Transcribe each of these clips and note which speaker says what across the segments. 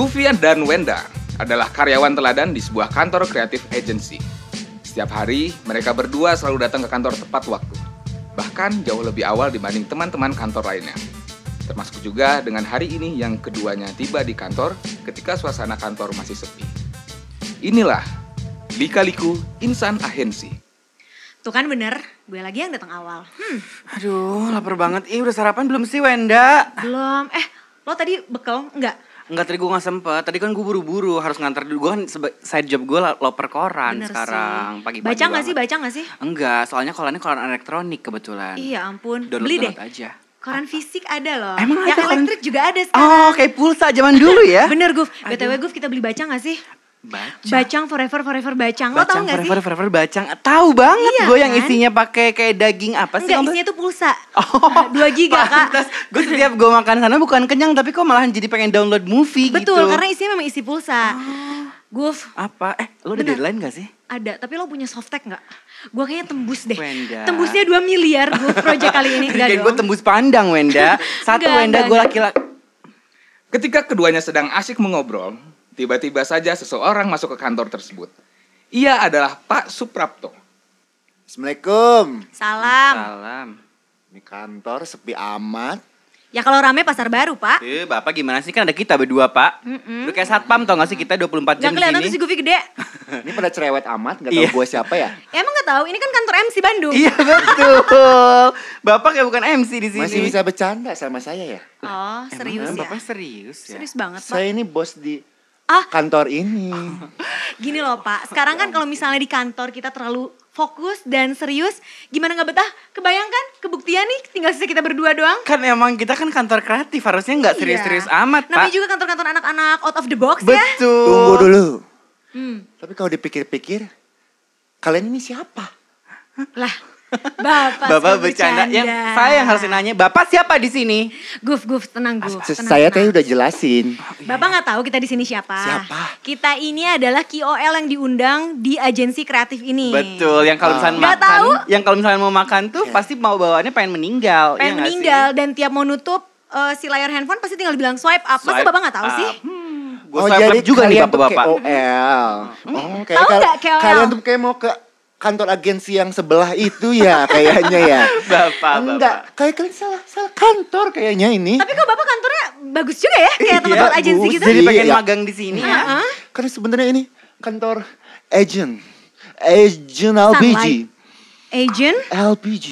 Speaker 1: Sufian dan Wenda adalah karyawan teladan di sebuah kantor kreatif agency. Setiap hari, mereka berdua selalu datang ke kantor tepat waktu. Bahkan jauh lebih awal dibanding teman-teman kantor lainnya. Termasuk juga dengan hari ini yang keduanya tiba di kantor ketika suasana kantor masih sepi. Inilah Lika-liku Insan Ahensi.
Speaker 2: Tuh kan bener, gue lagi yang datang awal. Hmm,
Speaker 3: Aduh, lapar banget. Ih, udah sarapan belum sih, Wenda?
Speaker 2: belum. Eh, lo tadi bekal nggak?
Speaker 3: Enggak, tadi gue gak sempet. Tadi kan gue buru-buru harus nganter. Gue kan sebe- side job gue loper koran
Speaker 2: Bener
Speaker 3: Kan, sekarang.
Speaker 2: sih.
Speaker 3: Pagi-pagi
Speaker 2: Baca nggak sih,
Speaker 3: banget.
Speaker 2: baca nggak sih?
Speaker 3: Enggak, soalnya korannya koran elektronik kebetulan.
Speaker 2: Iya ampun,
Speaker 3: Download,
Speaker 2: beli deh.
Speaker 3: download aja.
Speaker 2: Koran fisik ada loh.
Speaker 3: Emang
Speaker 2: Yang
Speaker 3: ada koran-
Speaker 2: elektrik juga ada sekarang.
Speaker 3: Oh, kayak pulsa zaman dulu ya.
Speaker 2: Bener, Guf. BTW, Guf, kita beli bacang nggak sih?
Speaker 3: Baca.
Speaker 2: Bacang forever, forever bacang. Lo tau
Speaker 3: Bacang,
Speaker 2: nggak sih?
Speaker 3: forever, forever, bacang. Tahu banget
Speaker 2: Iya
Speaker 3: gue yang
Speaker 2: kan?
Speaker 3: isinya pakai kayak daging apa sih?
Speaker 2: Enggak,
Speaker 3: Om?
Speaker 2: isinya tuh pulsa.
Speaker 3: Oh,
Speaker 2: 2 giga, Kak.
Speaker 3: Gue setiap gue makan sana bukan kenyang tapi kok malahan jadi pengen download movie gitu. Oh.
Speaker 2: Betul, karena isinya memang isi pulsa. Guf,
Speaker 3: apa? Eh, lo udah
Speaker 2: Bener.
Speaker 3: deadline gak sih?
Speaker 2: Ada, tapi lo punya softtek nggak? Gue kayaknya tembus deh.
Speaker 3: Wenda.
Speaker 2: Tembusnya 2 miliar gue project kali ini. Enggak
Speaker 3: Kayak
Speaker 2: dong.
Speaker 3: gue tembus pandang Wenda. Satu
Speaker 2: Enggak,
Speaker 3: Wenda
Speaker 2: enggak,
Speaker 3: gue
Speaker 2: enggak.
Speaker 3: laki-laki.
Speaker 1: Ketika keduanya sedang asyik mengobrol, tiba-tiba saja seseorang masuk ke kantor tersebut. Ia adalah Pak Suprapto.
Speaker 4: Assalamualaikum.
Speaker 2: Salam.
Speaker 3: Salam.
Speaker 4: Ini kantor sepi amat.
Speaker 2: Ya kalau rame pasar baru, Pak.
Speaker 3: Eh, Bapak gimana sih? Kan ada kita berdua, Pak. Udah kayak satpam tau gak sih kita
Speaker 2: Gak
Speaker 3: 24 jam
Speaker 2: kelihatan tuh
Speaker 3: di
Speaker 2: si
Speaker 3: sini?
Speaker 2: Gufi gede.
Speaker 4: Ini pada cerewet amat, nggak tahu
Speaker 3: Iya.
Speaker 4: gue siapa ya?
Speaker 2: Ya, emang gak tahu, ini kan kantor MC Bandung.
Speaker 3: Iya, betul. Bapak kayak bukan MC di sini.
Speaker 4: Masih bisa bercanda sama saya ya?
Speaker 2: Oh,
Speaker 3: Emang
Speaker 2: serius ya?
Speaker 3: Bapak serius ya?
Speaker 2: Serius banget, Pak.
Speaker 4: Saya ini bos di
Speaker 2: Ah.
Speaker 4: kantor ini.
Speaker 2: Gini loh, Pak. Sekarang
Speaker 3: Ya
Speaker 2: kan kalau misalnya di kantor kita terlalu fokus dan serius, gimana nggak betah? Kebayangkan kebuktian nih tinggal sisa kita berdua doang.
Speaker 3: Kan emang kita kan kantor kreatif, harusnya nggak serius-serius
Speaker 2: Iya.
Speaker 3: amat,
Speaker 2: Namanya
Speaker 3: Pak.
Speaker 2: juga kantor-kantor anak-anak out of the box ya.
Speaker 3: Betul.
Speaker 4: Tunggu dulu.
Speaker 2: Hmm.
Speaker 4: Tapi kalau dipikir-pikir, kalian ini siapa?
Speaker 2: Lah, Bapak, suka
Speaker 3: Bapak bercanda. Yang saya yang harus nanya, Bapak siapa di sini?
Speaker 2: Guf, guf, tenang guf.
Speaker 4: Se-
Speaker 2: tenang,
Speaker 4: saya teh
Speaker 2: tenang. Oh,
Speaker 4: udah jelasin.
Speaker 2: Bapak nggak tahu kita di sini siapa?
Speaker 4: Siapa?
Speaker 2: Kita ini adalah KOL yang diundang di agensi kreatif ini.
Speaker 3: Betul, Iya yang kalau misalnya
Speaker 2: Nggak
Speaker 3: makan,
Speaker 2: tahu. Iya.
Speaker 3: yang kalau misalnya mau makan tuh pasti mau bawaannya pengen meninggal. iya
Speaker 2: Pengen
Speaker 3: nggak sih?
Speaker 2: meninggal dan tiap mau nutup eh, si layar handphone pasti tinggal bilang swipe up. Masa
Speaker 3: Swipe
Speaker 2: Bapak nggak tahu
Speaker 3: up. Hmm.
Speaker 2: sih?
Speaker 3: Gua swipe left juga nih
Speaker 4: Oh, kalian tuh
Speaker 3: bapak-bapak.
Speaker 4: KOL. Oh, kayak
Speaker 2: Tahu
Speaker 4: kal-
Speaker 2: nggak KOL?
Speaker 4: Kalian tuh kayak mau ke kantor agensi yang sebelah itu ya kayaknya ya.
Speaker 3: Bapak,
Speaker 4: Enggak, kayak kalian salah salah kantor kayaknya ini.
Speaker 2: Tapi kok Bapak kantornya bagus juga ya? Kayak tempat-tempat
Speaker 4: bagus.
Speaker 2: agensi gitu.
Speaker 3: Iya, Jadi
Speaker 4: Iya.
Speaker 3: pengen magang di sini ya.
Speaker 2: Heeh.
Speaker 4: Karena sebenarnya ini kantor agent, agent LPG,
Speaker 2: Sunlight. Agent?
Speaker 4: LPG.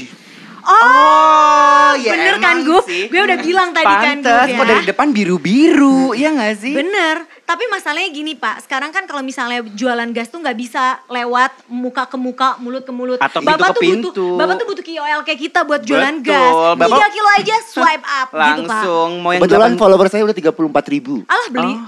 Speaker 2: Oh,
Speaker 3: Oh,
Speaker 2: bener kan
Speaker 3: emang
Speaker 2: Guf?
Speaker 3: sih.
Speaker 2: Gue udah bilang tadi kan Guf
Speaker 3: Pantes,
Speaker 2: ya.
Speaker 3: kok dari depan biru-biru, iya gak sih?
Speaker 2: Bener, gitu, tapi masalahnya gini pak, sekarang kan kalau misalnya jualan gas tuh nggak bisa lewat muka ke muka, mulut ke mulut.
Speaker 3: Atau
Speaker 2: bapak
Speaker 3: pintu ke
Speaker 2: tuh
Speaker 3: pintu.
Speaker 2: butuh, bapak tuh butuh KOL kayak kita buat jualan
Speaker 3: Betul,
Speaker 2: gas.
Speaker 3: Bapak-
Speaker 2: Tiga kilo aja swipe up gitu pak.
Speaker 3: Langsung, mau yang
Speaker 4: Kebetulan
Speaker 3: delapan-
Speaker 4: follower saya udah 34 ribu.
Speaker 2: Alah beli.
Speaker 3: Oh,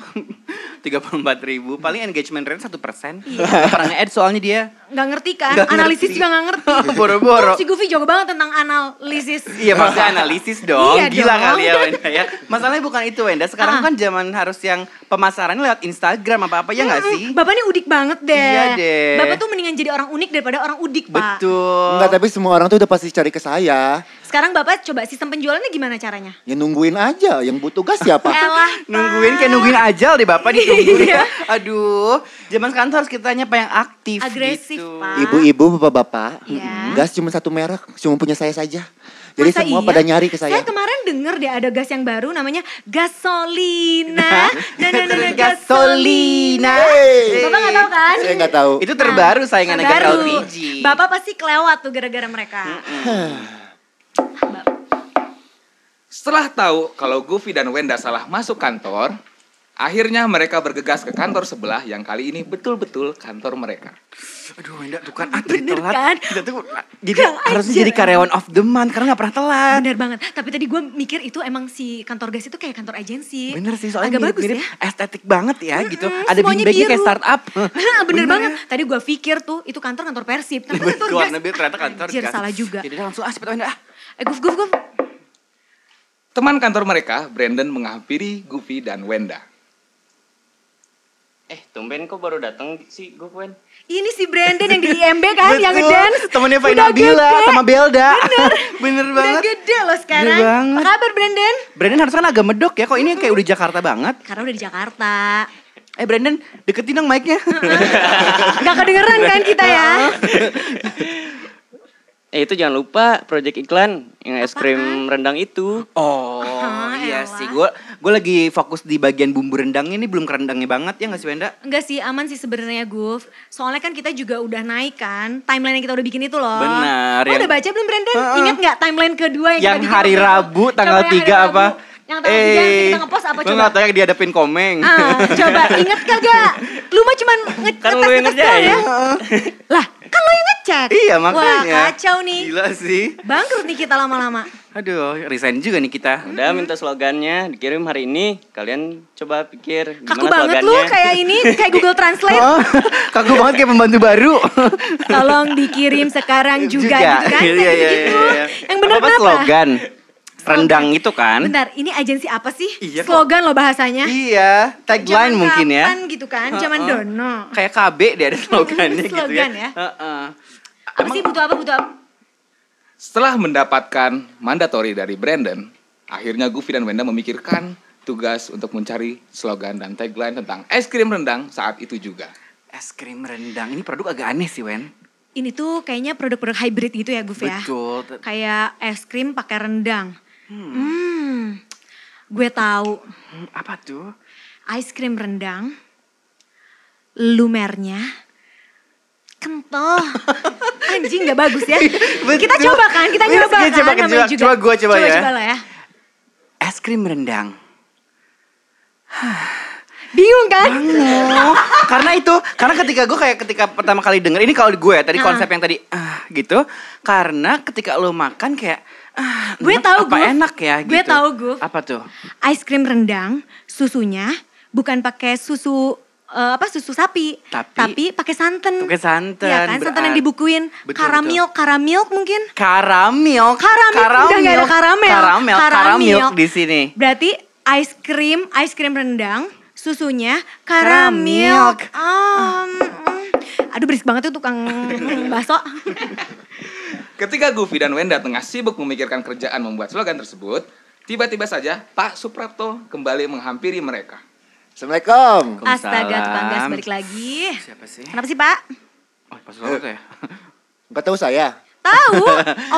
Speaker 3: 34 ribu, paling engagement rate 1% persen.
Speaker 2: Iya.
Speaker 3: Pernah nge-add soalnya dia.
Speaker 2: Nggak ngerti kan?
Speaker 3: Nggak
Speaker 2: Analisis
Speaker 3: ngerti.
Speaker 2: juga nggak ngerti.
Speaker 3: Boro-boro.
Speaker 2: Terus si Goofy jago banget tentang analisis.
Speaker 3: Iya pasti analisis dong,
Speaker 2: Iya
Speaker 3: gila
Speaker 2: dong.
Speaker 3: kali ya Wenda ya. Masalahnya bukan itu Wenda,
Speaker 2: Ah.
Speaker 3: sekarang kan zaman harus yang pemasarannya lewat Instagram apa-apa ya nggak
Speaker 2: Mm-mm,
Speaker 3: sih?
Speaker 2: Bapak nih udik banget deh.
Speaker 3: Iya deh.
Speaker 2: Bapak tuh mendingan jadi orang unik daripada orang udik pak.
Speaker 3: Betul.
Speaker 4: Enggak, tapi semua orang tuh udah pasti cari ke saya.
Speaker 2: Sekarang bapak coba sistem penjualannya gimana caranya?
Speaker 4: Ya nungguin aja, yang butuh gas siapa?
Speaker 2: Elah.
Speaker 3: Nungguin kayak nungguin ajal deh Bapak ditungguin.
Speaker 2: Iya.
Speaker 3: Aduh, zaman sekarang tuh harus kita nyapa yang aktif
Speaker 2: Agresif,
Speaker 3: gitu.
Speaker 2: Pak.
Speaker 4: Ibu-ibu, bapak-bapak,
Speaker 2: Iya.
Speaker 4: gas cuma satu merek, cuma punya saya saja. Jadi
Speaker 2: Masa
Speaker 4: semua
Speaker 2: iya?
Speaker 4: pada nyari ke saya.
Speaker 2: Saya kemarin denger deh ada gas yang baru namanya gasolina. Nah, nah, nah, nah,
Speaker 3: Gasolina.
Speaker 4: Hey.
Speaker 2: Bapak nggak tahu kan?
Speaker 4: Saya nggak tahu.
Speaker 3: Itu terbaru saingannya
Speaker 2: Baru.
Speaker 3: Gagal LPG.
Speaker 2: Bapak pasti kelewat tuh gara-gara mereka.
Speaker 1: Setelah tahu kalau Goofy dan Wenda salah masuk kantor, akhirnya mereka bergegas ke kantor sebelah yang kali ini betul-betul kantor mereka.
Speaker 3: Aduh Wenda tuh kan ah, jadi
Speaker 2: Bener
Speaker 3: telat.
Speaker 2: kan?
Speaker 3: Kita tuh jadi
Speaker 2: Kurang
Speaker 3: harusnya
Speaker 2: ajar.
Speaker 3: jadi karyawan of the month karena nggak pernah telat.
Speaker 2: Bener banget. Tapi tadi gue mikir itu emang si kantor gas itu kayak kantor agensi.
Speaker 3: Bener sih soalnya
Speaker 2: Agak bagus
Speaker 3: mirip-mirip
Speaker 2: ya.
Speaker 3: estetik banget ya gitu.
Speaker 2: Mm-mm,
Speaker 3: Ada
Speaker 2: semuanya
Speaker 3: bing-bingnya kayak
Speaker 2: biru. Nah,
Speaker 3: startup.
Speaker 2: Bener, banget.
Speaker 3: ya.
Speaker 2: Tadi gue pikir tuh itu kantor kantor persib. Tapi
Speaker 3: Betul,
Speaker 2: kantor
Speaker 3: warna
Speaker 2: gas.
Speaker 3: biru ternyata kantor
Speaker 2: Anjir,
Speaker 3: gas.
Speaker 2: salah juga.
Speaker 3: Jadi dia langsung ah sepet Wenda ah.
Speaker 2: Eh guf guf guf.
Speaker 1: Teman kantor mereka, Brandon menghampiri Goofy dan Wenda.
Speaker 5: Eh, tumben kok baru datang sih gue Gwen.
Speaker 2: Ini si Brandon yang di IMB kan yang
Speaker 3: Betul,
Speaker 2: ngedance.
Speaker 3: Temennya Fai
Speaker 2: Udah
Speaker 3: Nabila
Speaker 2: gede.
Speaker 3: sama Belda.
Speaker 2: Bener.
Speaker 3: Bener
Speaker 2: Udah
Speaker 3: banget.
Speaker 2: gede loh sekarang.
Speaker 3: Gede banget.
Speaker 2: Apa kabar Brandon?
Speaker 3: Brandon harusnya kan agak medok ya. Kok ini kayak udah Jakarta banget.
Speaker 2: Karena udah di Jakarta.
Speaker 3: Eh Brandon deketin dong mic-nya.
Speaker 2: Gak kedengeran kan kita ya?
Speaker 5: Eh itu jangan lupa project iklan yang es krim rendang itu.
Speaker 3: Oh
Speaker 2: Ah,
Speaker 3: iya
Speaker 2: elah.
Speaker 3: sih, gue gue lagi fokus di bagian bumbu rendangnya ini belum kerendangnya banget ya nggak sih Wenda?
Speaker 2: Enggak sih, aman sih sebenarnya Guf. Soalnya kan kita juga udah naik kan timeline yang kita udah bikin itu loh.
Speaker 3: Benar,
Speaker 2: Lo
Speaker 3: yang-
Speaker 2: udah baca belum Brandon?
Speaker 3: Heeh.
Speaker 2: Ingat nggak timeline kedua yang, kita
Speaker 3: Yang
Speaker 2: bikin
Speaker 3: hari
Speaker 2: waktu itu?
Speaker 3: Rabu tanggal
Speaker 2: Coba yang hari
Speaker 3: 3 apa?
Speaker 2: Rabu. Yang tanggal 3 yang kita ngepost apa
Speaker 3: Gue
Speaker 2: coba?
Speaker 3: nggak tahu yang dihadapin komeng.
Speaker 2: Ah, coba inget kagak? Lu mah cuman nge-
Speaker 5: Kan lu
Speaker 2: ngetes
Speaker 5: yang
Speaker 2: ngetes doang ya?
Speaker 5: ngerjain.
Speaker 2: lah, kan lu yang ngecek.
Speaker 3: iya makanya.
Speaker 2: Wah, kacau nih.
Speaker 3: Gila sih.
Speaker 2: Bangkrut nih kita lama-lama.
Speaker 3: Aduh, resign juga nih kita.
Speaker 5: Udah
Speaker 2: Hmm.
Speaker 5: minta slogannya dikirim hari ini. Kalian coba pikir
Speaker 2: Kaku banget lu kayak ini, kayak Google Translate.
Speaker 3: Oh, kaku banget kayak pembantu baru.
Speaker 2: Tolong dikirim sekarang juga, gitu kan? Kayak
Speaker 3: Iya, iya,
Speaker 2: gitu.
Speaker 3: iya, iya.
Speaker 2: Yang benar
Speaker 3: Apa-apa slogan rendang itu kan?
Speaker 2: Bentar, ini agensi apa sih?
Speaker 3: Iya, kok.
Speaker 2: Slogan loh bahasanya.
Speaker 3: Iya,
Speaker 2: Zaman
Speaker 3: tagline mungkin ya.
Speaker 2: ya. kapan gitu kan, zaman
Speaker 3: Heeh.
Speaker 2: dono.
Speaker 3: Kayak KB dia ada slogannya gitu ya.
Speaker 2: Slogan ya.
Speaker 3: Heeh.
Speaker 2: Apa sih butuh apa butuh apa?
Speaker 1: Setelah mendapatkan mandatory dari Brandon, akhirnya Goofy dan Wenda memikirkan tugas untuk mencari slogan dan tagline tentang es krim rendang saat itu juga.
Speaker 3: Es krim rendang ini produk agak aneh sih Wen.
Speaker 2: Ini tuh kayaknya produk-produk hybrid gitu ya, Guf ya.
Speaker 3: Betul.
Speaker 2: Kayak es krim pakai rendang. Hmm. Gue tahu
Speaker 3: Hmm, apa tuh?
Speaker 2: ice cream rendang, lumernya, kental. Anjing nggak bagus ya. Kita
Speaker 3: Betul.
Speaker 2: coba kan, kita nyoba
Speaker 3: Iya, iya,
Speaker 2: kan
Speaker 3: coba,
Speaker 2: namanya
Speaker 3: coba.
Speaker 2: juga.
Speaker 3: Coba gua coba ya.
Speaker 2: Coba lah ya.
Speaker 3: Es krim rendang.
Speaker 2: Bingung kan?
Speaker 3: Oh, karena itu, karena ketika gue kayak ketika pertama kali denger ini kalau gue ya,
Speaker 2: Ah.
Speaker 3: tadi konsep yang tadi ah gitu, karena ketika lo makan kayak ah,
Speaker 2: Gue
Speaker 3: enak,
Speaker 2: tahu,
Speaker 3: apa
Speaker 2: Guf.
Speaker 3: enak ya gitu.
Speaker 2: Gue tahu, Guf.
Speaker 3: Apa tuh?
Speaker 2: Ice cream rendang, susunya bukan pakai susu eh, apa susu sapi,
Speaker 3: Tapi-
Speaker 2: pakai santan.
Speaker 3: Pakai santan,
Speaker 2: Iya kan, santan yang
Speaker 3: berat.
Speaker 2: dibukuin.
Speaker 3: Betul,
Speaker 2: Karamil, karamil mungkin.
Speaker 3: Karamil,
Speaker 2: Karamil, udah nggak ada karamel.
Speaker 3: karamil, karamil di sini.
Speaker 2: Berarti ice cream, ice cream rendang, susunya
Speaker 3: Karamil.
Speaker 2: karamil. Um, mm. aduh berisik banget tuh tukang mm, bakso.
Speaker 1: Ketika Goofy dan Wenda tengah sibuk memikirkan kerjaan membuat slogan tersebut, tiba-tiba saja Pak Suprapto kembali menghampiri mereka.
Speaker 4: Assalamualaikum.
Speaker 2: Astaga tukang gas balik lagi.
Speaker 3: Siapa sih?
Speaker 2: Kenapa sih pak?
Speaker 3: Oh, pas banget ya.
Speaker 4: Gak tahu saya.
Speaker 2: Tahu,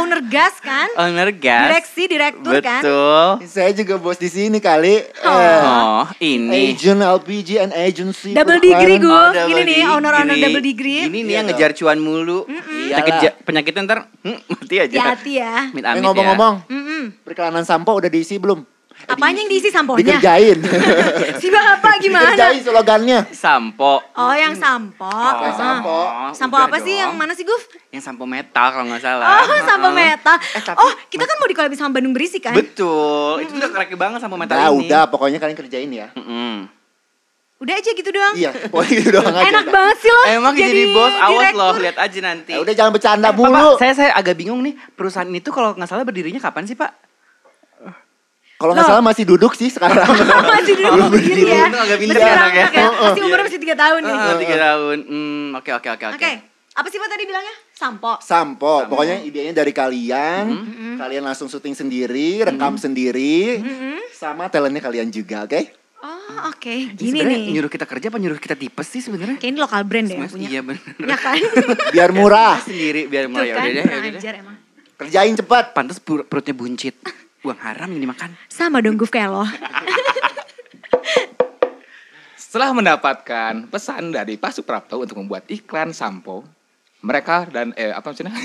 Speaker 2: owner gas kan?
Speaker 3: Owner gas.
Speaker 2: Direksi, direktur
Speaker 3: Betul.
Speaker 2: kan?
Speaker 3: Betul.
Speaker 4: Saya juga bos di sini kali. Eh,
Speaker 3: Oh, ini.
Speaker 4: agent LPG and agency.
Speaker 2: Double
Speaker 4: for
Speaker 2: degree,
Speaker 4: client.
Speaker 2: Gu.
Speaker 3: Oh,
Speaker 2: Gini
Speaker 3: double
Speaker 2: nih,
Speaker 3: degree.
Speaker 2: owner-owner double degree.
Speaker 3: Ini nih
Speaker 4: Iya
Speaker 3: yang ngejar cuan mulu. Penyakit ja- penyakitnya ntar hmm, mati aja.
Speaker 2: Hati-hati ya.
Speaker 3: Amit
Speaker 4: Eh,
Speaker 3: amit
Speaker 4: ngomong-ngomong,
Speaker 2: Mm-mm.
Speaker 4: perjalanan sampo udah diisi belum? Eh,
Speaker 2: Apanya yang diisi samponya?
Speaker 4: Dikerjain.
Speaker 2: Si bapak gimana?
Speaker 4: Dikerjain slogannya.
Speaker 3: ya. Sampo.
Speaker 2: Oh yang sampo.
Speaker 4: Yang
Speaker 2: Ah.
Speaker 4: sampo.
Speaker 2: Sampo
Speaker 3: udah
Speaker 2: apa sih?
Speaker 3: dong.
Speaker 2: Yang mana sih Guf?
Speaker 3: Yang sampo metal kalau nggak salah.
Speaker 2: Oh, sampo
Speaker 3: Heeh.
Speaker 2: metal.
Speaker 3: Eh, tapi-
Speaker 2: oh, kita kan mau dikolabin sama Bandung Berisi kan?
Speaker 3: Betul. Itu udah keren banget sampo metal
Speaker 4: Nah,
Speaker 3: ini.
Speaker 4: udah pokoknya kalian kerjain ya.
Speaker 3: Mm-mm.
Speaker 2: Udah aja gitu doang.
Speaker 4: Iya, pokoknya gitu doang aja.
Speaker 2: Enak banget sih lo.
Speaker 3: Emang jadi, bos awas
Speaker 2: direktur.
Speaker 3: loh, lihat aja nanti.
Speaker 4: Ya udah jangan bercanda
Speaker 3: Eh,
Speaker 4: mulu.
Speaker 3: Bapak, saya saya agak bingung nih. Perusahaan itu kalau nggak salah berdirinya kapan sih, Pak?
Speaker 4: Kalau nggak
Speaker 2: Loh.
Speaker 4: salah masih duduk sih sekarang.
Speaker 2: Masih duduk
Speaker 4: Belum
Speaker 2: sendiri
Speaker 4: berdiri.
Speaker 2: ya.
Speaker 3: Untung agak pinter
Speaker 2: Masih
Speaker 3: anak
Speaker 2: anak
Speaker 3: ya.
Speaker 2: ya. Masih umurnya masih 3 tahun nih.
Speaker 3: Ah, Tiga tahun. Hmm, oke oke oke
Speaker 2: Oke. Apa sih Pak tadi bilangnya? Sampo.
Speaker 4: Sampo, pokoknya idenya dari kalian,
Speaker 3: Hmm.
Speaker 2: Hmm.
Speaker 4: kalian langsung syuting sendiri, rekam sendiri,
Speaker 2: Hmm.
Speaker 4: sama talentnya kalian juga, oke?
Speaker 2: Oh, oke.
Speaker 3: Ini
Speaker 2: Gini
Speaker 3: sebenarnya
Speaker 2: nih.
Speaker 3: nyuruh kita kerja apa nyuruh kita tipes sih sebenarnya?
Speaker 2: Kayak ini lokal brand deh yang
Speaker 3: Mas,
Speaker 2: punya.
Speaker 3: Iya bener.
Speaker 2: Ya kan?
Speaker 4: Biar murah,
Speaker 3: Sendiri biar
Speaker 2: Tuh
Speaker 3: mulai
Speaker 2: kan,
Speaker 3: udah deh.
Speaker 2: kurang
Speaker 3: ya udah deh.
Speaker 2: ajar emang.
Speaker 4: kerjain cepat.
Speaker 3: Pantes perut- perutnya buncit. Uang haram yang dimakan.
Speaker 2: Sama dong Guf kayak lo.
Speaker 1: Setelah mendapatkan pesan dari Pak Suprapto untuk membuat iklan sampo, mereka dan eh apa maksudnya?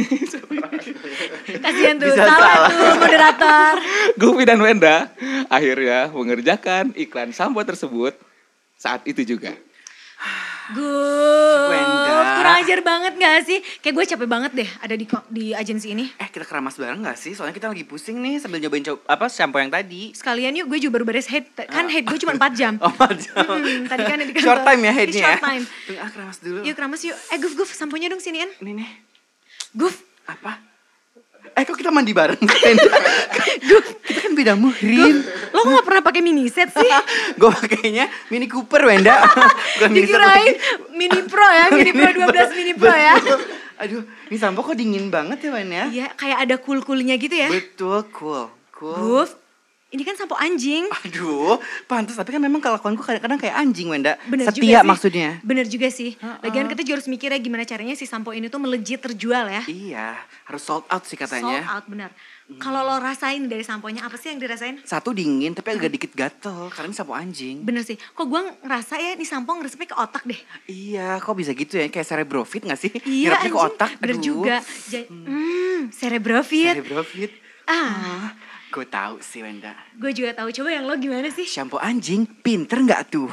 Speaker 2: Kasian tuh,
Speaker 3: Bisa
Speaker 2: salah tuh moderator.
Speaker 1: Goofy dan Wenda akhirnya mengerjakan iklan sampo tersebut saat itu juga.
Speaker 2: Guf,
Speaker 3: Wenda.
Speaker 2: kurang ajar banget gak sih? Kayak gue capek banget deh ada di ko- di agensi ini.
Speaker 3: Eh kita keramas bareng gak sih? Soalnya kita lagi pusing nih sambil nyobain co- apa shampoo yang tadi.
Speaker 2: Sekalian yuk gue juga baru beres head. Kan head gue cuma 4 jam.
Speaker 3: Oh, padahal.
Speaker 2: Hmm, tadi kan di kantor.
Speaker 3: Short time ya
Speaker 2: Ini
Speaker 3: headnya ya?
Speaker 2: Short time.
Speaker 3: Tunggu, ah, keramas dulu.
Speaker 2: Yuk keramas yuk. Eh Guf, Guf, samponya dong sinian.
Speaker 3: Ini nih.
Speaker 2: Guf,
Speaker 3: Apa? Eh kok kita mandi bareng? kita kan beda muhrim.
Speaker 2: lo kamu gak pernah pakai mini set sih?
Speaker 3: gue pakainya Mini Cooper Wenda. Bukan Mini Cooper.
Speaker 2: Dikirain mini pro ya, mini pro 12 mini pro ya.
Speaker 3: Betul. Aduh, ini sampo kok dingin banget ya Wenda.
Speaker 2: Iya, kayak ada kul-kulnya gitu ya.
Speaker 3: Betul, cool. Cool.
Speaker 2: Buf, ini kan sampo anjing.
Speaker 3: Aduh, pantas tapi kan memang kelakuanku kadang-kadang kayak anjing Wenda.
Speaker 2: Bener juga
Speaker 3: Setia
Speaker 2: sih.
Speaker 3: maksudnya.
Speaker 2: Bener juga sih. Lagian kita juga harus mikir ya gimana caranya si sampo ini tuh melejit terjual ya.
Speaker 3: Iya, harus sold out sih katanya. Hmm.
Speaker 2: Sold out bener. Kalau lo rasain dari samponya apa sih yang dirasain?
Speaker 3: Satu dingin tapi agak dikit gatel karena ini sapu anjing.
Speaker 2: Bener sih. Kok gue ngerasa ya nih sampo ngeresepnya ke otak deh.
Speaker 3: Iya, kok bisa gitu ya? Kayak cerebrofit gak sih?
Speaker 2: Iya
Speaker 3: Nyerapnya
Speaker 2: anjing.
Speaker 3: ke otak.
Speaker 2: Bener
Speaker 3: aduh.
Speaker 2: juga. Ja- hmm, cerebrofit.
Speaker 3: Cerebrofit.
Speaker 2: Ah,
Speaker 3: Hmm. Gue tahu sih Wenda.
Speaker 2: gue juga tahu. Coba yang lo gimana sih?
Speaker 3: Shampoo anjing, pinter nggak tuh?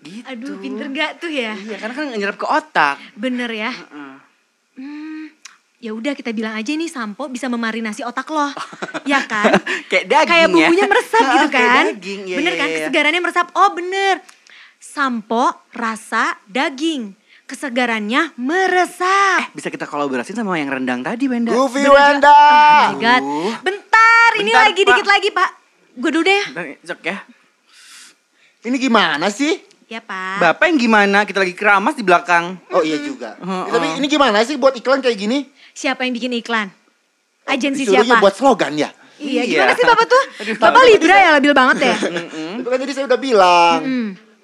Speaker 3: Gitu.
Speaker 2: Aduh, pinter gak tuh ya?
Speaker 3: Iya, karena kan nyerap ke otak.
Speaker 2: Bener ya. Hmm, ya udah kita bilang aja nih sampo bisa memarinasi otak lo, ya kan?
Speaker 3: Kayak daging
Speaker 2: Kayak
Speaker 3: ya.
Speaker 2: bumbunya meresap
Speaker 3: Ah,
Speaker 2: gitu
Speaker 3: kayak
Speaker 2: kan?
Speaker 3: daging, iya,
Speaker 2: bener
Speaker 3: iya,
Speaker 2: kan?
Speaker 3: iya.
Speaker 2: Kesegarannya meresap. Oh bener. Sampo rasa daging, kesegarannya meresap.
Speaker 3: Bisa kita kolaborasi sama yang rendang tadi, Wenda.
Speaker 4: Goofy Wenda.
Speaker 2: Oh my God.
Speaker 3: Eh, aduh.
Speaker 2: Bentar, ini
Speaker 3: Bentar,
Speaker 2: lagi
Speaker 3: Pak.
Speaker 2: dikit lagi pak. Gue dulu deh.
Speaker 3: Bentar, Cok ya.
Speaker 4: Ini gimana sih?
Speaker 2: Ya pak.
Speaker 3: Bapak yang gimana? Kita lagi keramas di belakang.
Speaker 4: Oh
Speaker 2: Hmm.
Speaker 4: iya juga.
Speaker 3: Heeh.
Speaker 4: Tapi ini gimana sih buat iklan kayak gini?
Speaker 2: Siapa yang bikin iklan? Agensi
Speaker 4: Disuruhnya
Speaker 2: siapa?
Speaker 4: buat slogan ya?
Speaker 2: Iya,
Speaker 3: Oh, Iya.
Speaker 2: gimana sih bapak tuh?
Speaker 3: Aduh,
Speaker 2: bapak libra ya, labil banget ya.
Speaker 4: Itu kan tadi saya udah bilang.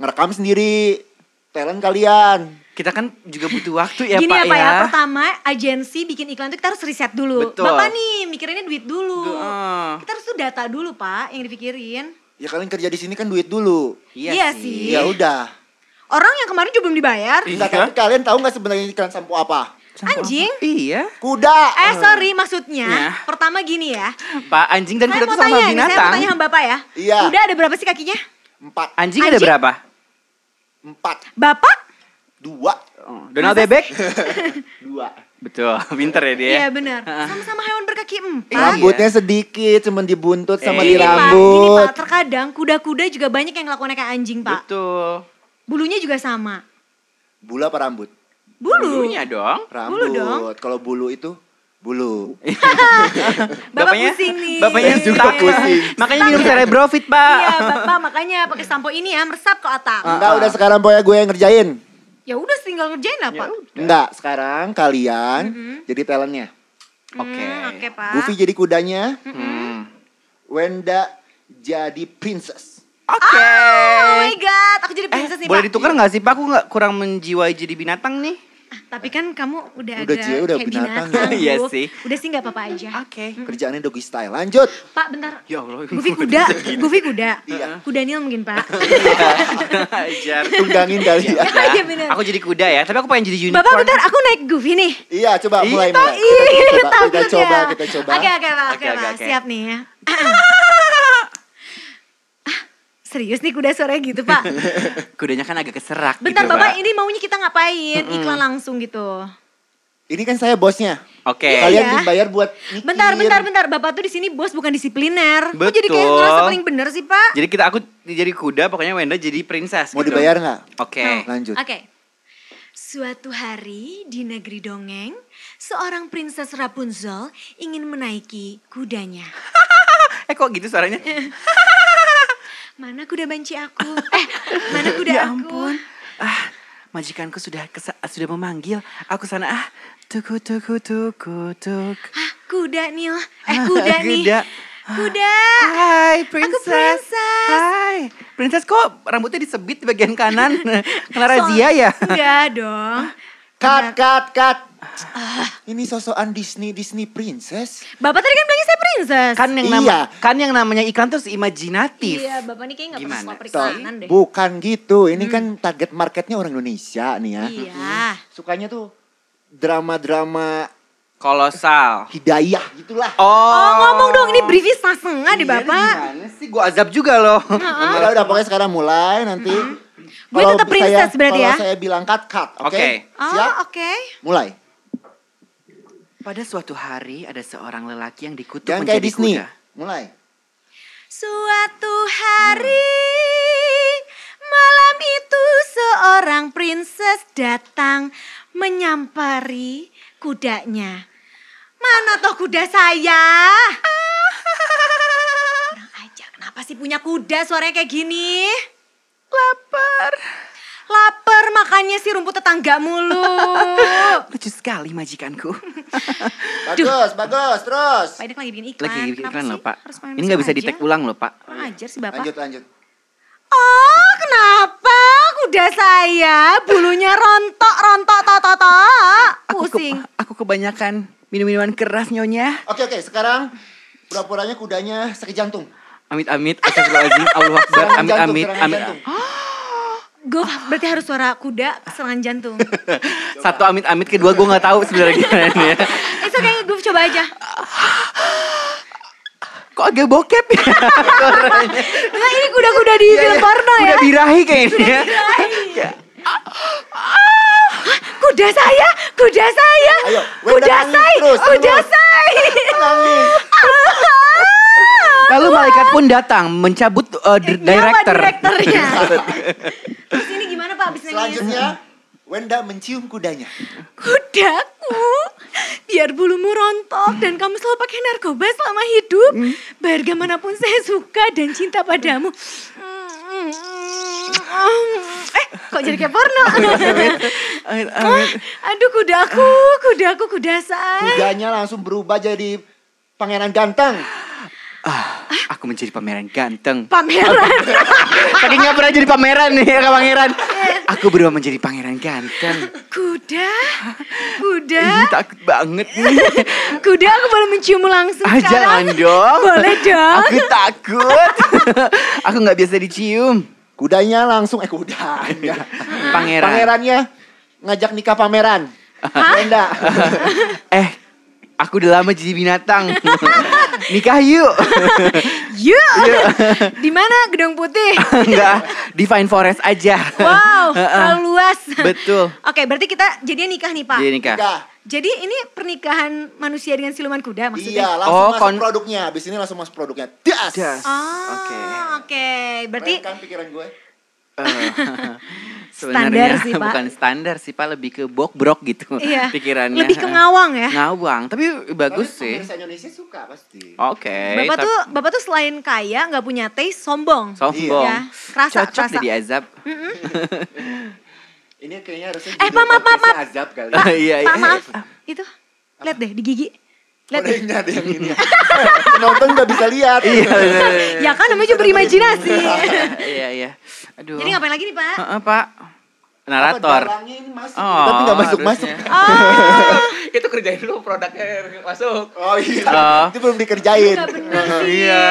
Speaker 4: Ngerekam sendiri. Talent kalian.
Speaker 3: Kita kan juga butuh waktu ya,
Speaker 2: Gini ya
Speaker 3: Pak
Speaker 2: Pak ya, pertama agensi bikin iklan itu kita harus riset dulu.
Speaker 3: Betul.
Speaker 2: Bapak nih mikirinnya duit dulu.
Speaker 3: Du- eh.
Speaker 2: Kita harus tuh data dulu Pak yang dipikirin.
Speaker 4: Ya kalian kerja di sini kan duit dulu.
Speaker 3: Iya
Speaker 2: Iya sih.
Speaker 3: sih.
Speaker 4: Ya udah.
Speaker 2: Orang yang kemarin juga belum dibayar.
Speaker 3: Iya.
Speaker 4: Enggak tapi kalian tahu nggak sebenarnya iklan sampo apa?
Speaker 3: Sampo
Speaker 2: Anjing.
Speaker 3: apa? Iya.
Speaker 4: Kuda.
Speaker 2: Eh sorry maksudnya,
Speaker 3: Ya.
Speaker 2: pertama gini ya.
Speaker 3: Pak, anjing dan
Speaker 2: Saya
Speaker 3: kuda
Speaker 2: mau
Speaker 3: tuh sama
Speaker 2: tanya nih, saya
Speaker 3: binatang.
Speaker 2: mau tanya sama Bapak ya.
Speaker 4: Iya.
Speaker 2: Udah ada berapa sih kakinya?
Speaker 4: Empat.
Speaker 3: Anjing, ada
Speaker 2: Anjing?
Speaker 3: berapa?
Speaker 4: Empat.
Speaker 2: Bapak?
Speaker 4: Dua.
Speaker 3: Oh, Donald bebek?
Speaker 4: Dua.
Speaker 3: Betul, pinter ya dia.
Speaker 2: Iya benar. Sama-sama hewan berkaki empat.
Speaker 3: Iya.
Speaker 4: Rambutnya sedikit, cuman dibuntut sama
Speaker 3: Eh.
Speaker 4: di
Speaker 2: Gini Pak, gini
Speaker 4: rambut.
Speaker 2: Pak, terkadang kuda-kuda juga banyak yang ngelakuinnya kayak anjing Pak.
Speaker 3: Betul.
Speaker 2: Bulunya juga sama.
Speaker 4: Bulu apa rambut?
Speaker 2: Bulu.
Speaker 3: Bulunya dong.
Speaker 2: Bulu dong. Eh.
Speaker 4: Rambut. Kalau bulu itu bulu.
Speaker 2: Bapak pusing nih.
Speaker 3: Bapaknya
Speaker 4: Juga
Speaker 3: stuck.
Speaker 4: pusing.
Speaker 3: Makanya minum cerebrofit, Pak.
Speaker 2: Iya bapak makanya pakai sampo ini ya meresap ke otak.
Speaker 4: Enggak, udah sekarang pokoknya gue yang ngerjain.
Speaker 2: Ya Ah. udah tinggal ngerjain lah pak.
Speaker 4: Enggak, sekarang kalian jadi talentnya.
Speaker 3: Oke.
Speaker 2: Hmm, Oke pak.
Speaker 4: Goofy jadi kudanya,
Speaker 3: Hmm.
Speaker 4: Wenda jadi princess.
Speaker 3: Oke.
Speaker 2: Oh my god, aku jadi
Speaker 3: Eh,
Speaker 2: princess nih
Speaker 3: boleh
Speaker 2: pak.
Speaker 3: ditukar nggak sih Pak? Aku nggak kurang menjiwai jadi binatang nih.
Speaker 2: Ah, Tapi kan kamu udah,
Speaker 4: Udah,
Speaker 2: agak
Speaker 4: Cie, udah
Speaker 2: kayak
Speaker 4: binatang.
Speaker 2: binatang.
Speaker 3: Iya
Speaker 2: Bu.
Speaker 3: sih.
Speaker 2: Udah sih nggak apa-apa aja.
Speaker 3: Oke.
Speaker 4: Kerjaannya doggy style. Lanjut.
Speaker 2: Pak bentar.
Speaker 3: Ya Allah.
Speaker 2: Goofy kuda, Goofy kuda.
Speaker 4: Iya.
Speaker 2: Kuda Nil mungkin pak.
Speaker 3: Ajar.
Speaker 4: Tunggangin ya. kalian.
Speaker 2: Iya bener.
Speaker 3: Aku jadi kuda ya, tapi aku pengen jadi unicorn.
Speaker 2: Bapak bentar, aku naik Goofy nih.
Speaker 4: iya, coba
Speaker 3: Ih,
Speaker 4: mulai mulai.
Speaker 2: Ih,
Speaker 4: Kita coba, kita
Speaker 2: takut
Speaker 4: coba,
Speaker 2: ya.
Speaker 4: kita coba.
Speaker 2: iya, Oke oke pak, oke
Speaker 3: Oke, oke,
Speaker 2: pak.
Speaker 3: oke.
Speaker 2: Siap nih ya. Ah, Serius nih kuda suaranya gitu pak.
Speaker 4: Iya,
Speaker 3: Kudanya kan agak keserak
Speaker 2: Bentar
Speaker 3: gitu,
Speaker 2: Bapak,
Speaker 3: Pak.
Speaker 2: ini maunya kita ngapain? Iklan langsung gitu.
Speaker 4: Ini kan saya bosnya.
Speaker 3: Oke.
Speaker 2: Iya.
Speaker 4: Kalian dibayar buat mikir.
Speaker 2: Bentar, bentar, bentar. Bapak tuh di sini bos bukan disipliner. Kok jadi kayak
Speaker 3: Betul.
Speaker 2: ngerasa paling bener sih, Pak?
Speaker 3: Jadi kita aku jadi kuda, pokoknya Wenda jadi princess
Speaker 4: Mau
Speaker 3: gitu.
Speaker 4: dibayar nggak?
Speaker 3: Oke.
Speaker 4: Lanjut.
Speaker 2: Oke. Suatu hari di negeri dongeng, seorang princess Rapunzel ingin menaiki kudanya.
Speaker 3: Eh kok gitu suaranya?
Speaker 2: Mana kuda banci aku? Eh, mana kuda
Speaker 3: ya
Speaker 2: aku?
Speaker 3: ampun. Ah, majikanku sudah kesa- sudah memanggil. Aku sana ah tuku tuku tuku tuk.
Speaker 2: Hah, kuda Nil. Eh, kuda nih.
Speaker 3: Kuda.
Speaker 2: Kuda.
Speaker 3: Hai, princess.
Speaker 2: princess.
Speaker 3: Hai. Princess kok rambutnya disebit di bagian kanan? Kena razia ya?
Speaker 2: Enggak dong.
Speaker 4: Cut, cut, cut.
Speaker 2: Ah.
Speaker 4: Ini sosokan Disney, Disney princess.
Speaker 2: Bapak tadi kan bilangnya saya princess.
Speaker 3: Kan yang
Speaker 4: Iya.
Speaker 3: nama kan yang namanya iklan terus imajinatif.
Speaker 2: Iya, Bapak ini kayaknya gak pernah
Speaker 3: Gimana?
Speaker 2: sekolah
Speaker 4: Tuh,
Speaker 2: periklanan deh. Hmm.
Speaker 4: bukan gitu. Ini kan target marketnya orang Indonesia nih ya.
Speaker 2: Iya.
Speaker 4: Sukanya tuh drama-drama
Speaker 3: Kolosal.
Speaker 4: hidayah gitulah.
Speaker 2: Oh ngomong dong, ini briefnya setengah setengah deh bapak.
Speaker 3: Iya, Gimana sih? Gua azab juga loh.
Speaker 4: Udah, Ya udah pokoknya sekarang mulai nanti.
Speaker 2: Hmm. Gue
Speaker 4: Kalau
Speaker 2: tetap
Speaker 4: saya-
Speaker 2: princess berarti ya?
Speaker 4: Kalau saya bilang cut, cut. Oke.
Speaker 3: Oke.
Speaker 4: Siap?
Speaker 2: Oh oke.
Speaker 4: Mulai.
Speaker 3: Pada suatu hari ada seorang lelaki yang dikutuk
Speaker 4: Jangan
Speaker 3: menjadi
Speaker 4: kayak Disney.
Speaker 3: kuda.
Speaker 4: Mulai.
Speaker 2: Suatu hari malam itu seorang princess datang menyampari kudanya. Mana toh kuda saya? Kurang aja, kenapa sih Si punya kuda suaranya kayak gini. Lapar. Lapar makanya si rumput tetangga mulu.
Speaker 3: Lucu sekali majikanku.
Speaker 4: Bagus, bagus, terus.
Speaker 2: Pak Idek lagi bikin iklan.
Speaker 3: Lagi bikin
Speaker 2: Kenapa
Speaker 3: iklan
Speaker 2: sih
Speaker 3: loh pak.
Speaker 2: harus main
Speaker 3: Ini nggak
Speaker 2: mesum
Speaker 3: bisa
Speaker 2: aja?
Speaker 3: di tag ulang loh pak.
Speaker 2: Kurang ajar sih Bapak.
Speaker 4: Lanjut, lanjut.
Speaker 2: Oh, kenapa kuda saya bulunya rontok rontok tok tok tok.
Speaker 3: Aku ke-
Speaker 2: Pusing.
Speaker 3: aku kebanyakan minum-minuman keras nyonya.
Speaker 4: Oke, oke, sekarang pura-puranya kudanya sakit jantung.
Speaker 3: Amit amit. Astagfirullahaladzim. Allah Akbar.
Speaker 4: Serangan
Speaker 3: Amit
Speaker 4: jantung,
Speaker 3: amit.
Speaker 4: serangan
Speaker 3: amit.
Speaker 4: jantung.
Speaker 2: Gue berarti harus suara kuda serangan jantung.
Speaker 3: Satu amit amit. Kedua gue nggak tahu sebenarnya gimana ya.
Speaker 2: Itu kayak gue coba aja.
Speaker 3: Kok agak bokep ya? Suaranya.
Speaker 2: Enggak Nah, ini kuda-kuda di film porno ya. Iya. Ah,
Speaker 3: Udah birahi kayaknya.
Speaker 2: Kuda saya, kuda saya.
Speaker 4: Ayo, Wenda,
Speaker 2: kuda
Speaker 4: nangis
Speaker 2: saya,
Speaker 4: terus,
Speaker 2: kuda
Speaker 4: terus.
Speaker 2: saya.
Speaker 4: Nangis.
Speaker 3: Lalu malaikat pun datang mencabut uh, dir-
Speaker 2: Nyawa
Speaker 3: director.
Speaker 2: direkturnya. Terus ini gimana Pak abis nangis?
Speaker 4: Selanjutnya, Wenda mencium kudanya.
Speaker 2: Kudaku, biar bulumu rontok dan kamu selalu pakai narkoba selama hidup.
Speaker 3: Hmm.
Speaker 2: Bagaimanapun saya suka dan cinta padamu. Eh, kok jadi kayak porno?
Speaker 3: Amit,
Speaker 2: Wah,
Speaker 3: amit.
Speaker 2: aduh kudaku, kudaku, kuda saya.
Speaker 4: Kudanya langsung berubah jadi pangeran ganteng.
Speaker 3: Ah, aku menjadi pameran ganteng.
Speaker 2: Pameran.
Speaker 3: Tadi nggak pernah jadi pameran nih ya, Kak pangeran. Aku berubah menjadi pangeran ganteng.
Speaker 2: Kuda, kuda,
Speaker 3: Ih, takut banget nih.
Speaker 2: kuda aku boleh menciummu langsung
Speaker 3: Ah,
Speaker 2: sekarang.
Speaker 3: jangan dong.
Speaker 2: Boleh dong.
Speaker 3: Aku takut. aku nggak biasa dicium.
Speaker 4: Kudanya langsung, eh kudanya.
Speaker 3: Pangeran.
Speaker 4: Pangerannya ngajak nikah pameran. Iya Wenda.
Speaker 3: Eh, aku udah lama jadi binatang. Nikah yuk.
Speaker 2: Yuk,
Speaker 3: Iya.
Speaker 2: di mana gedung putih?
Speaker 3: Enggak, di Fine Forest aja.
Speaker 2: Wow,
Speaker 3: Heeh.
Speaker 2: terlalu luas.
Speaker 3: Betul.
Speaker 2: Oke, berarti kita jadinya nikah nih Pak.
Speaker 3: Jadi nikah.
Speaker 4: Nikah.
Speaker 2: Jadi ini pernikahan manusia dengan siluman kuda maksudnya?
Speaker 4: Iya, langsung
Speaker 3: Oh,
Speaker 4: masuk
Speaker 3: kon-
Speaker 4: produknya. Abis ini langsung masuk produknya. Das.
Speaker 3: Das.
Speaker 2: Ah,
Speaker 3: Oke.
Speaker 2: oke. Berarti
Speaker 4: Keren kan pikiran gue.
Speaker 3: Eh,
Speaker 2: Standar
Speaker 3: Sebenarnya
Speaker 2: sih, Pak.
Speaker 3: bukan standar sih Pak, lebih ke bok-brok gitu
Speaker 2: iya.
Speaker 3: pikirannya.
Speaker 2: Lebih ke ngawang ya.
Speaker 3: Ngawang, tapi bagus
Speaker 4: Tapi gitu.
Speaker 3: sih.
Speaker 4: Pemirsa Indonesia suka pasti.
Speaker 3: Oke.
Speaker 2: Bapak
Speaker 3: tapi-
Speaker 2: tuh Bapak tuh selain kaya nggak punya taste sombong.
Speaker 3: sombong.
Speaker 2: Iya, kerasa,
Speaker 3: Cocok
Speaker 2: kerasa.
Speaker 3: jadi azab.
Speaker 4: Ini kayaknya harusnya
Speaker 2: Eh,
Speaker 4: judul
Speaker 2: Pak, maaf, maaf,
Speaker 4: podcastnya
Speaker 2: maaf.
Speaker 4: Azab kali.
Speaker 3: Iya,
Speaker 2: Pak maaf, itu lihat deh di gigi. Lihat deh.
Speaker 4: Kodenya ada yang ini. Penonton nggak bisa lihat.
Speaker 3: Iya, bener,
Speaker 2: Ya kan namanya juga berimajinasi.
Speaker 3: iya, iya. Aduh.
Speaker 2: Jadi ngapain lagi nih Pak?
Speaker 3: Heeh, Pak.
Speaker 4: Apa,
Speaker 3: Narator.
Speaker 4: dalangnya ini masuk,
Speaker 3: Oh,
Speaker 4: tapi nggak masuk masuk.
Speaker 3: harusnya.
Speaker 2: Oh,
Speaker 1: Itu kerjain dulu produknya masuk.
Speaker 4: Oh iya,
Speaker 3: Oh.
Speaker 4: itu belum dikerjain.
Speaker 2: Gak bener sih.
Speaker 3: Iya,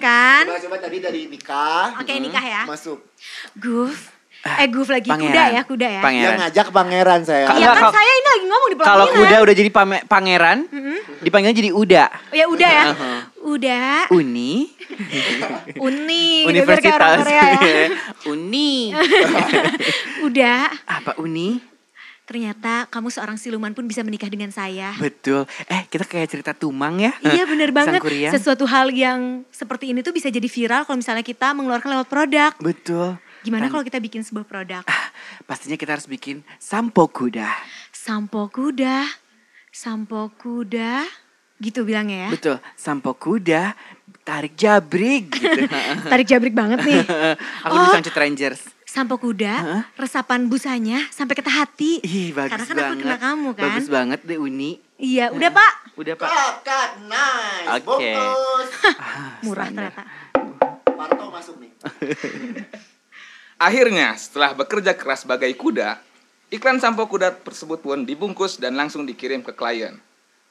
Speaker 2: kan?
Speaker 4: Coba coba tadi dari nikah
Speaker 2: Oke nikah ya.
Speaker 4: masuk.
Speaker 2: Guf. Eh Guf lagi kuda
Speaker 3: Ah, Pangeran.
Speaker 2: ya, kuda ya.
Speaker 4: Yang
Speaker 3: Pangeran.
Speaker 4: ngajak pangeran saya.
Speaker 2: Iya
Speaker 3: Enggak,
Speaker 2: kan
Speaker 3: kalau-
Speaker 2: saya ini lagi ngomong di ya.
Speaker 3: Kalau
Speaker 2: pelaminan.
Speaker 3: kuda udah jadi pame- pangeran,
Speaker 2: Mm-hmm.
Speaker 3: dipanggil jadi Uda.
Speaker 2: Oh Ya udah ya.
Speaker 3: Uh-huh.
Speaker 2: Udah.
Speaker 3: Uni,
Speaker 2: Uni. gitu, biar kayak orang
Speaker 3: universitas. Iya.
Speaker 2: Korea ya.
Speaker 3: uni.
Speaker 2: Udah.
Speaker 3: Apa uni?
Speaker 2: Ternyata kamu seorang siluman pun bisa menikah dengan saya.
Speaker 3: Betul. Eh, kita kayak cerita Tumang ya.
Speaker 2: Iya bener banget.
Speaker 3: Sangkuriang.
Speaker 2: Sesuatu hal yang seperti ini tuh bisa jadi viral kalau misalnya kita mengeluarkan lewat produk.
Speaker 3: Betul.
Speaker 2: Gimana
Speaker 3: Dan
Speaker 2: kalau kita bikin sebuah produk?
Speaker 3: Pastinya kita harus bikin sampo kuda.
Speaker 2: Sampo kuda. Sampo kuda. Gitu bilangnya ya.
Speaker 3: Betul. Sampo kuda, tarik jabrik gitu.
Speaker 2: Tarik jabrik banget nih.
Speaker 3: Aku
Speaker 2: Oh.
Speaker 3: bisa Rangers.
Speaker 2: Sampo kuda,
Speaker 3: Hah?
Speaker 2: resapan busanya sampai ke hati.
Speaker 3: Ih, bagus
Speaker 2: Karena kan
Speaker 3: banget.
Speaker 2: aku kenal kamu kan. Oh.
Speaker 3: Bagus banget deh uni.
Speaker 2: Iya, udah Pak.
Speaker 3: Udah Pak.
Speaker 4: Kakak, nice.
Speaker 3: Oke.
Speaker 4: Bungkus.
Speaker 2: Murah
Speaker 3: Ah, Standar.
Speaker 2: ternyata.
Speaker 4: Parto masuk nih.
Speaker 1: Akhirnya, setelah bekerja keras bagai kuda, iklan sampo kuda tersebut pun dibungkus dan langsung dikirim ke klien.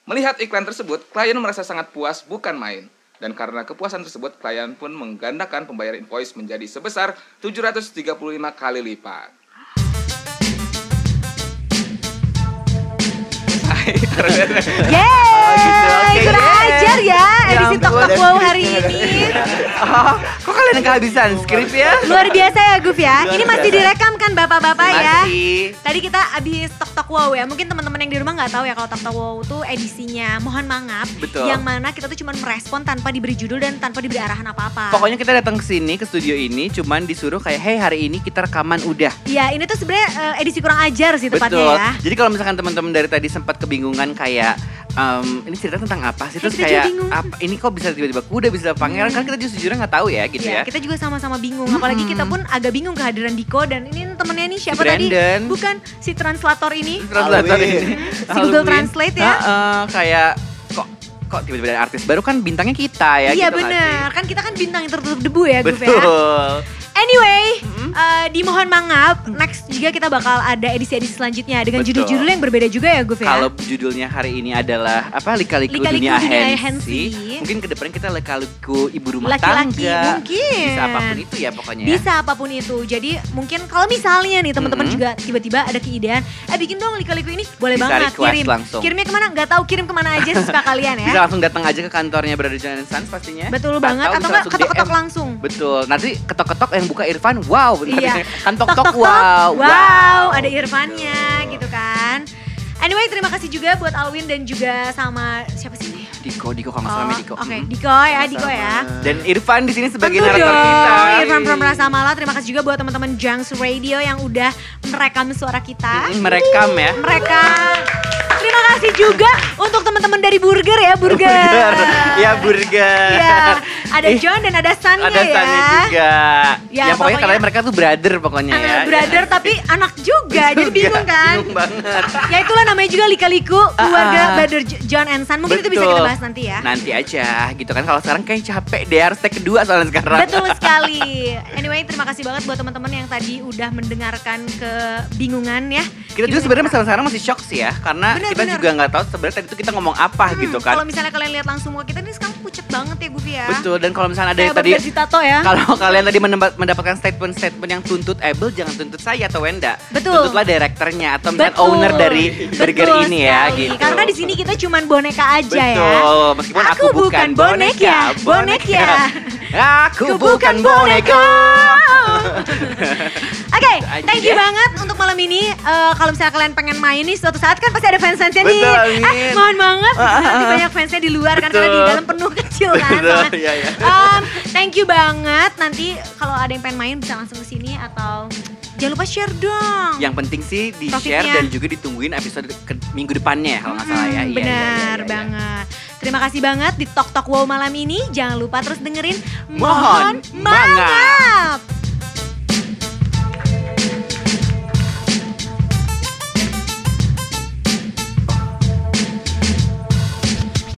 Speaker 1: Melihat iklan tersebut, klien merasa sangat puas bukan main. Dan karena kepuasan tersebut, klien pun menggandakan pembayaran invoice menjadi sebesar 735 kali lipat.
Speaker 2: Yeay,
Speaker 3: Ah, gitu, Oke,
Speaker 2: kurang
Speaker 3: yeay.
Speaker 2: ajar ya
Speaker 3: Ya
Speaker 2: edisi
Speaker 3: ampun.
Speaker 2: Tok Tok Wow hari ini.
Speaker 3: Oh, kok kalian kehabisan skrip ya?
Speaker 2: Luar biasa ya Guf ya.
Speaker 3: Luar
Speaker 2: Ini masih
Speaker 3: biasa.
Speaker 2: direkam kan Bapak-bapak ya.
Speaker 3: Masih.
Speaker 2: Tadi kita abis Tok Tok Wow ya. Mungkin teman-teman yang di rumah nggak tahu ya kalau Tok Tok Wow tuh edisinya mohon mangap.
Speaker 3: Betul.
Speaker 2: Yang mana kita tuh cuma merespon tanpa diberi judul dan tanpa diberi arahan apa-apa.
Speaker 3: Pokoknya kita datang ke sini ke studio ini cuman disuruh kayak hey hari ini kita rekaman udah.
Speaker 2: Ya ini tuh sebenarnya eh, edisi kurang ajar sih tepatnya
Speaker 3: Betul.
Speaker 2: ya.
Speaker 3: Jadi kalau misalkan teman-teman dari tadi sempat kebingungan kayak em, ini cerita tentang apa sih terus
Speaker 2: Eh, Kita juga
Speaker 3: kayak
Speaker 2: bingung. Hmm.
Speaker 3: apa ini kok bisa tiba-tiba kuda bisa pangeran kan kita justru jujurnya nggak tahu ya gitu
Speaker 2: Iya,
Speaker 3: ya.
Speaker 2: kita juga sama-sama bingung. Apalagi kita pun agak bingung kehadiran Diko dan ini temennya nih siapa tadi?
Speaker 3: Brandon.
Speaker 2: Bukan si translator ini.
Speaker 3: Translator
Speaker 4: Halloween.
Speaker 2: Si
Speaker 3: ini. Halloween.
Speaker 2: Google Translate ya.
Speaker 3: Heeh, kayak kok kok tiba-tiba ada artis baru kan bintangnya kita ya
Speaker 2: iya
Speaker 3: gitu nggak
Speaker 2: benar. Kan kita kan bintang yang tertutup debu ya
Speaker 3: sih?
Speaker 2: grup ya.
Speaker 3: Betul.
Speaker 2: Anyway, eh, dimohon mangap. Next juga kita bakal ada edisi-edisi selanjutnya dengan
Speaker 3: Betul.
Speaker 2: judul-judul yang berbeda juga ya Guf ya.
Speaker 3: Kalau judulnya hari ini adalah apa lika-liku
Speaker 2: Lika-liku
Speaker 3: dunia,
Speaker 2: dunia
Speaker 3: Hensi.
Speaker 2: Hensi.
Speaker 3: Mungkin kedepannya kita lika-liku ibu rumah
Speaker 2: Laki-laki,
Speaker 3: tangga.
Speaker 2: mungkin.
Speaker 3: Bisa apapun itu ya pokoknya. ya.
Speaker 2: Bisa apapun itu. Jadi mungkin kalau misalnya nih teman-teman
Speaker 3: Mm-mm.
Speaker 2: juga tiba-tiba ada keidean, eh bikin dong liku-liku ini boleh
Speaker 3: Bisa
Speaker 2: banget
Speaker 3: request
Speaker 2: kirim.
Speaker 3: langsung.
Speaker 2: Kirimnya kemana? Gak tahu kirim kemana aja sesuka kalian ya.
Speaker 3: Bisa langsung datang aja ke kantornya berada di Jalan Sans pastinya.
Speaker 2: Betul banget. Atau
Speaker 3: bisa
Speaker 2: enggak
Speaker 3: langsung
Speaker 2: ketok-ketok
Speaker 3: DM.
Speaker 2: langsung.
Speaker 3: Betul. Nanti ketok-ketok yang buka Irfan, wow.
Speaker 2: Iya.
Speaker 3: Kan tok-tok,
Speaker 2: Tok, tok,
Speaker 3: wow.
Speaker 2: Wow, ada Irfannya gitu kan. Anyway, terima kasih juga buat Alwin dan juga sama siapa sih nih?
Speaker 3: Diko, Diko kalau nggak salah namanya Diko.
Speaker 2: Oh,
Speaker 3: Mm-hmm.
Speaker 2: Oke,
Speaker 3: Mm-mm.
Speaker 2: Diko ya, Diko ya.
Speaker 3: Dan Irfan di sini sebagai
Speaker 2: Tentu
Speaker 3: narator
Speaker 2: dong,
Speaker 3: kita.
Speaker 2: Irfan Pram Rasamala. Terima kasih juga buat teman-teman Junks Radio yang udah merekam suara kita.
Speaker 3: Mm-mm, Merekam ya.
Speaker 2: Mereka. Terima kasih juga untuk teman-teman dari Burger ya, Burger.
Speaker 3: Ya burger.
Speaker 2: Iya, ada
Speaker 3: Ih,
Speaker 2: John dan ada Sunnya
Speaker 3: Ada
Speaker 2: ya.
Speaker 3: Sunny
Speaker 2: Ya,
Speaker 3: juga. Ya, pokoknya
Speaker 2: pokoknya-
Speaker 3: katanya mereka tuh brother pokoknya ya. Iya,
Speaker 2: Anak brother tapi anak juga, jadi bingung kan?
Speaker 3: Bingung banget.
Speaker 2: Ya itulah namanya juga lika-liku
Speaker 3: Ah,
Speaker 2: keluarga
Speaker 3: ah.
Speaker 2: Brother J- John and Son. Mungkin itu bisa kita
Speaker 3: Betul. Nah,
Speaker 2: bahas nanti ya.
Speaker 3: Nanti aja gitu kan kalau sekarang kayak capek deh harus take kedua soalnya sekarang.
Speaker 2: Betul sekali. Anyway, terima kasih banget buat teman-teman yang tadi udah mendengarkan kebingungan ya.
Speaker 3: Kita juga sebenarnya masalah sekarang masih shock sih ya karena
Speaker 2: Bener,
Speaker 3: kita
Speaker 2: bener.
Speaker 3: juga nggak tahu sebenarnya tadi tuh kita ngomong apa
Speaker 2: Hmm,
Speaker 3: gitu kan.
Speaker 2: Kalau misalnya kalian lihat langsung muka kita ini sekarang pucet banget ya Gufi ya.
Speaker 3: Betul dan kalau misalnya ada
Speaker 2: Kayak
Speaker 3: yang tadi
Speaker 2: Barbara Tato ya.
Speaker 3: kalau kalian tadi menemba- mendapatkan statement-statement yang tuntut Abel jangan tuntut saya atau Wenda.
Speaker 2: Betul.
Speaker 3: Tuntutlah direkturnya atau misalkan
Speaker 2: Betul.
Speaker 3: owner dari burger
Speaker 2: Betul
Speaker 3: ini ya
Speaker 2: sekali.
Speaker 3: gitu.
Speaker 2: Karena di sini kita cuman boneka aja ya.
Speaker 3: Betul, meskipun aku, bukan bonek ya, bonek ya. Aku
Speaker 2: Aku
Speaker 3: bukan
Speaker 2: bukan
Speaker 3: boneka.
Speaker 2: Oke,
Speaker 3: aja
Speaker 2: thank you
Speaker 3: ya.
Speaker 2: banget untuk malam ini. Eh, kalau misalnya kalian pengen main nih, suatu saat kan pasti ada fans-fansnya nih.
Speaker 3: Betul,
Speaker 2: Eh,
Speaker 3: Min.
Speaker 2: mohon banget, nanti banyak fansnya di luar kan, karena di
Speaker 3: ah. Betul.
Speaker 2: dalam penuh kecil kan.
Speaker 3: Betul,
Speaker 2: soalnya.
Speaker 3: iya, iya.
Speaker 2: Em, thank you banget. Nanti kalau ada yang pengen main bisa langsung ke sini atau jangan lupa share dong.
Speaker 3: Yang penting sih di-share
Speaker 2: Topiknya.
Speaker 3: dan juga ditungguin episode ke- minggu depannya ya kalau nggak salah
Speaker 2: Hmm,
Speaker 3: ya. Iya, iya, iya,
Speaker 2: Benar
Speaker 3: iya, iya.
Speaker 2: banget. Terima kasih banget di Tok Tok Wow malam ini. Jangan lupa terus dengerin
Speaker 3: Mohon
Speaker 2: Mohon Mangap.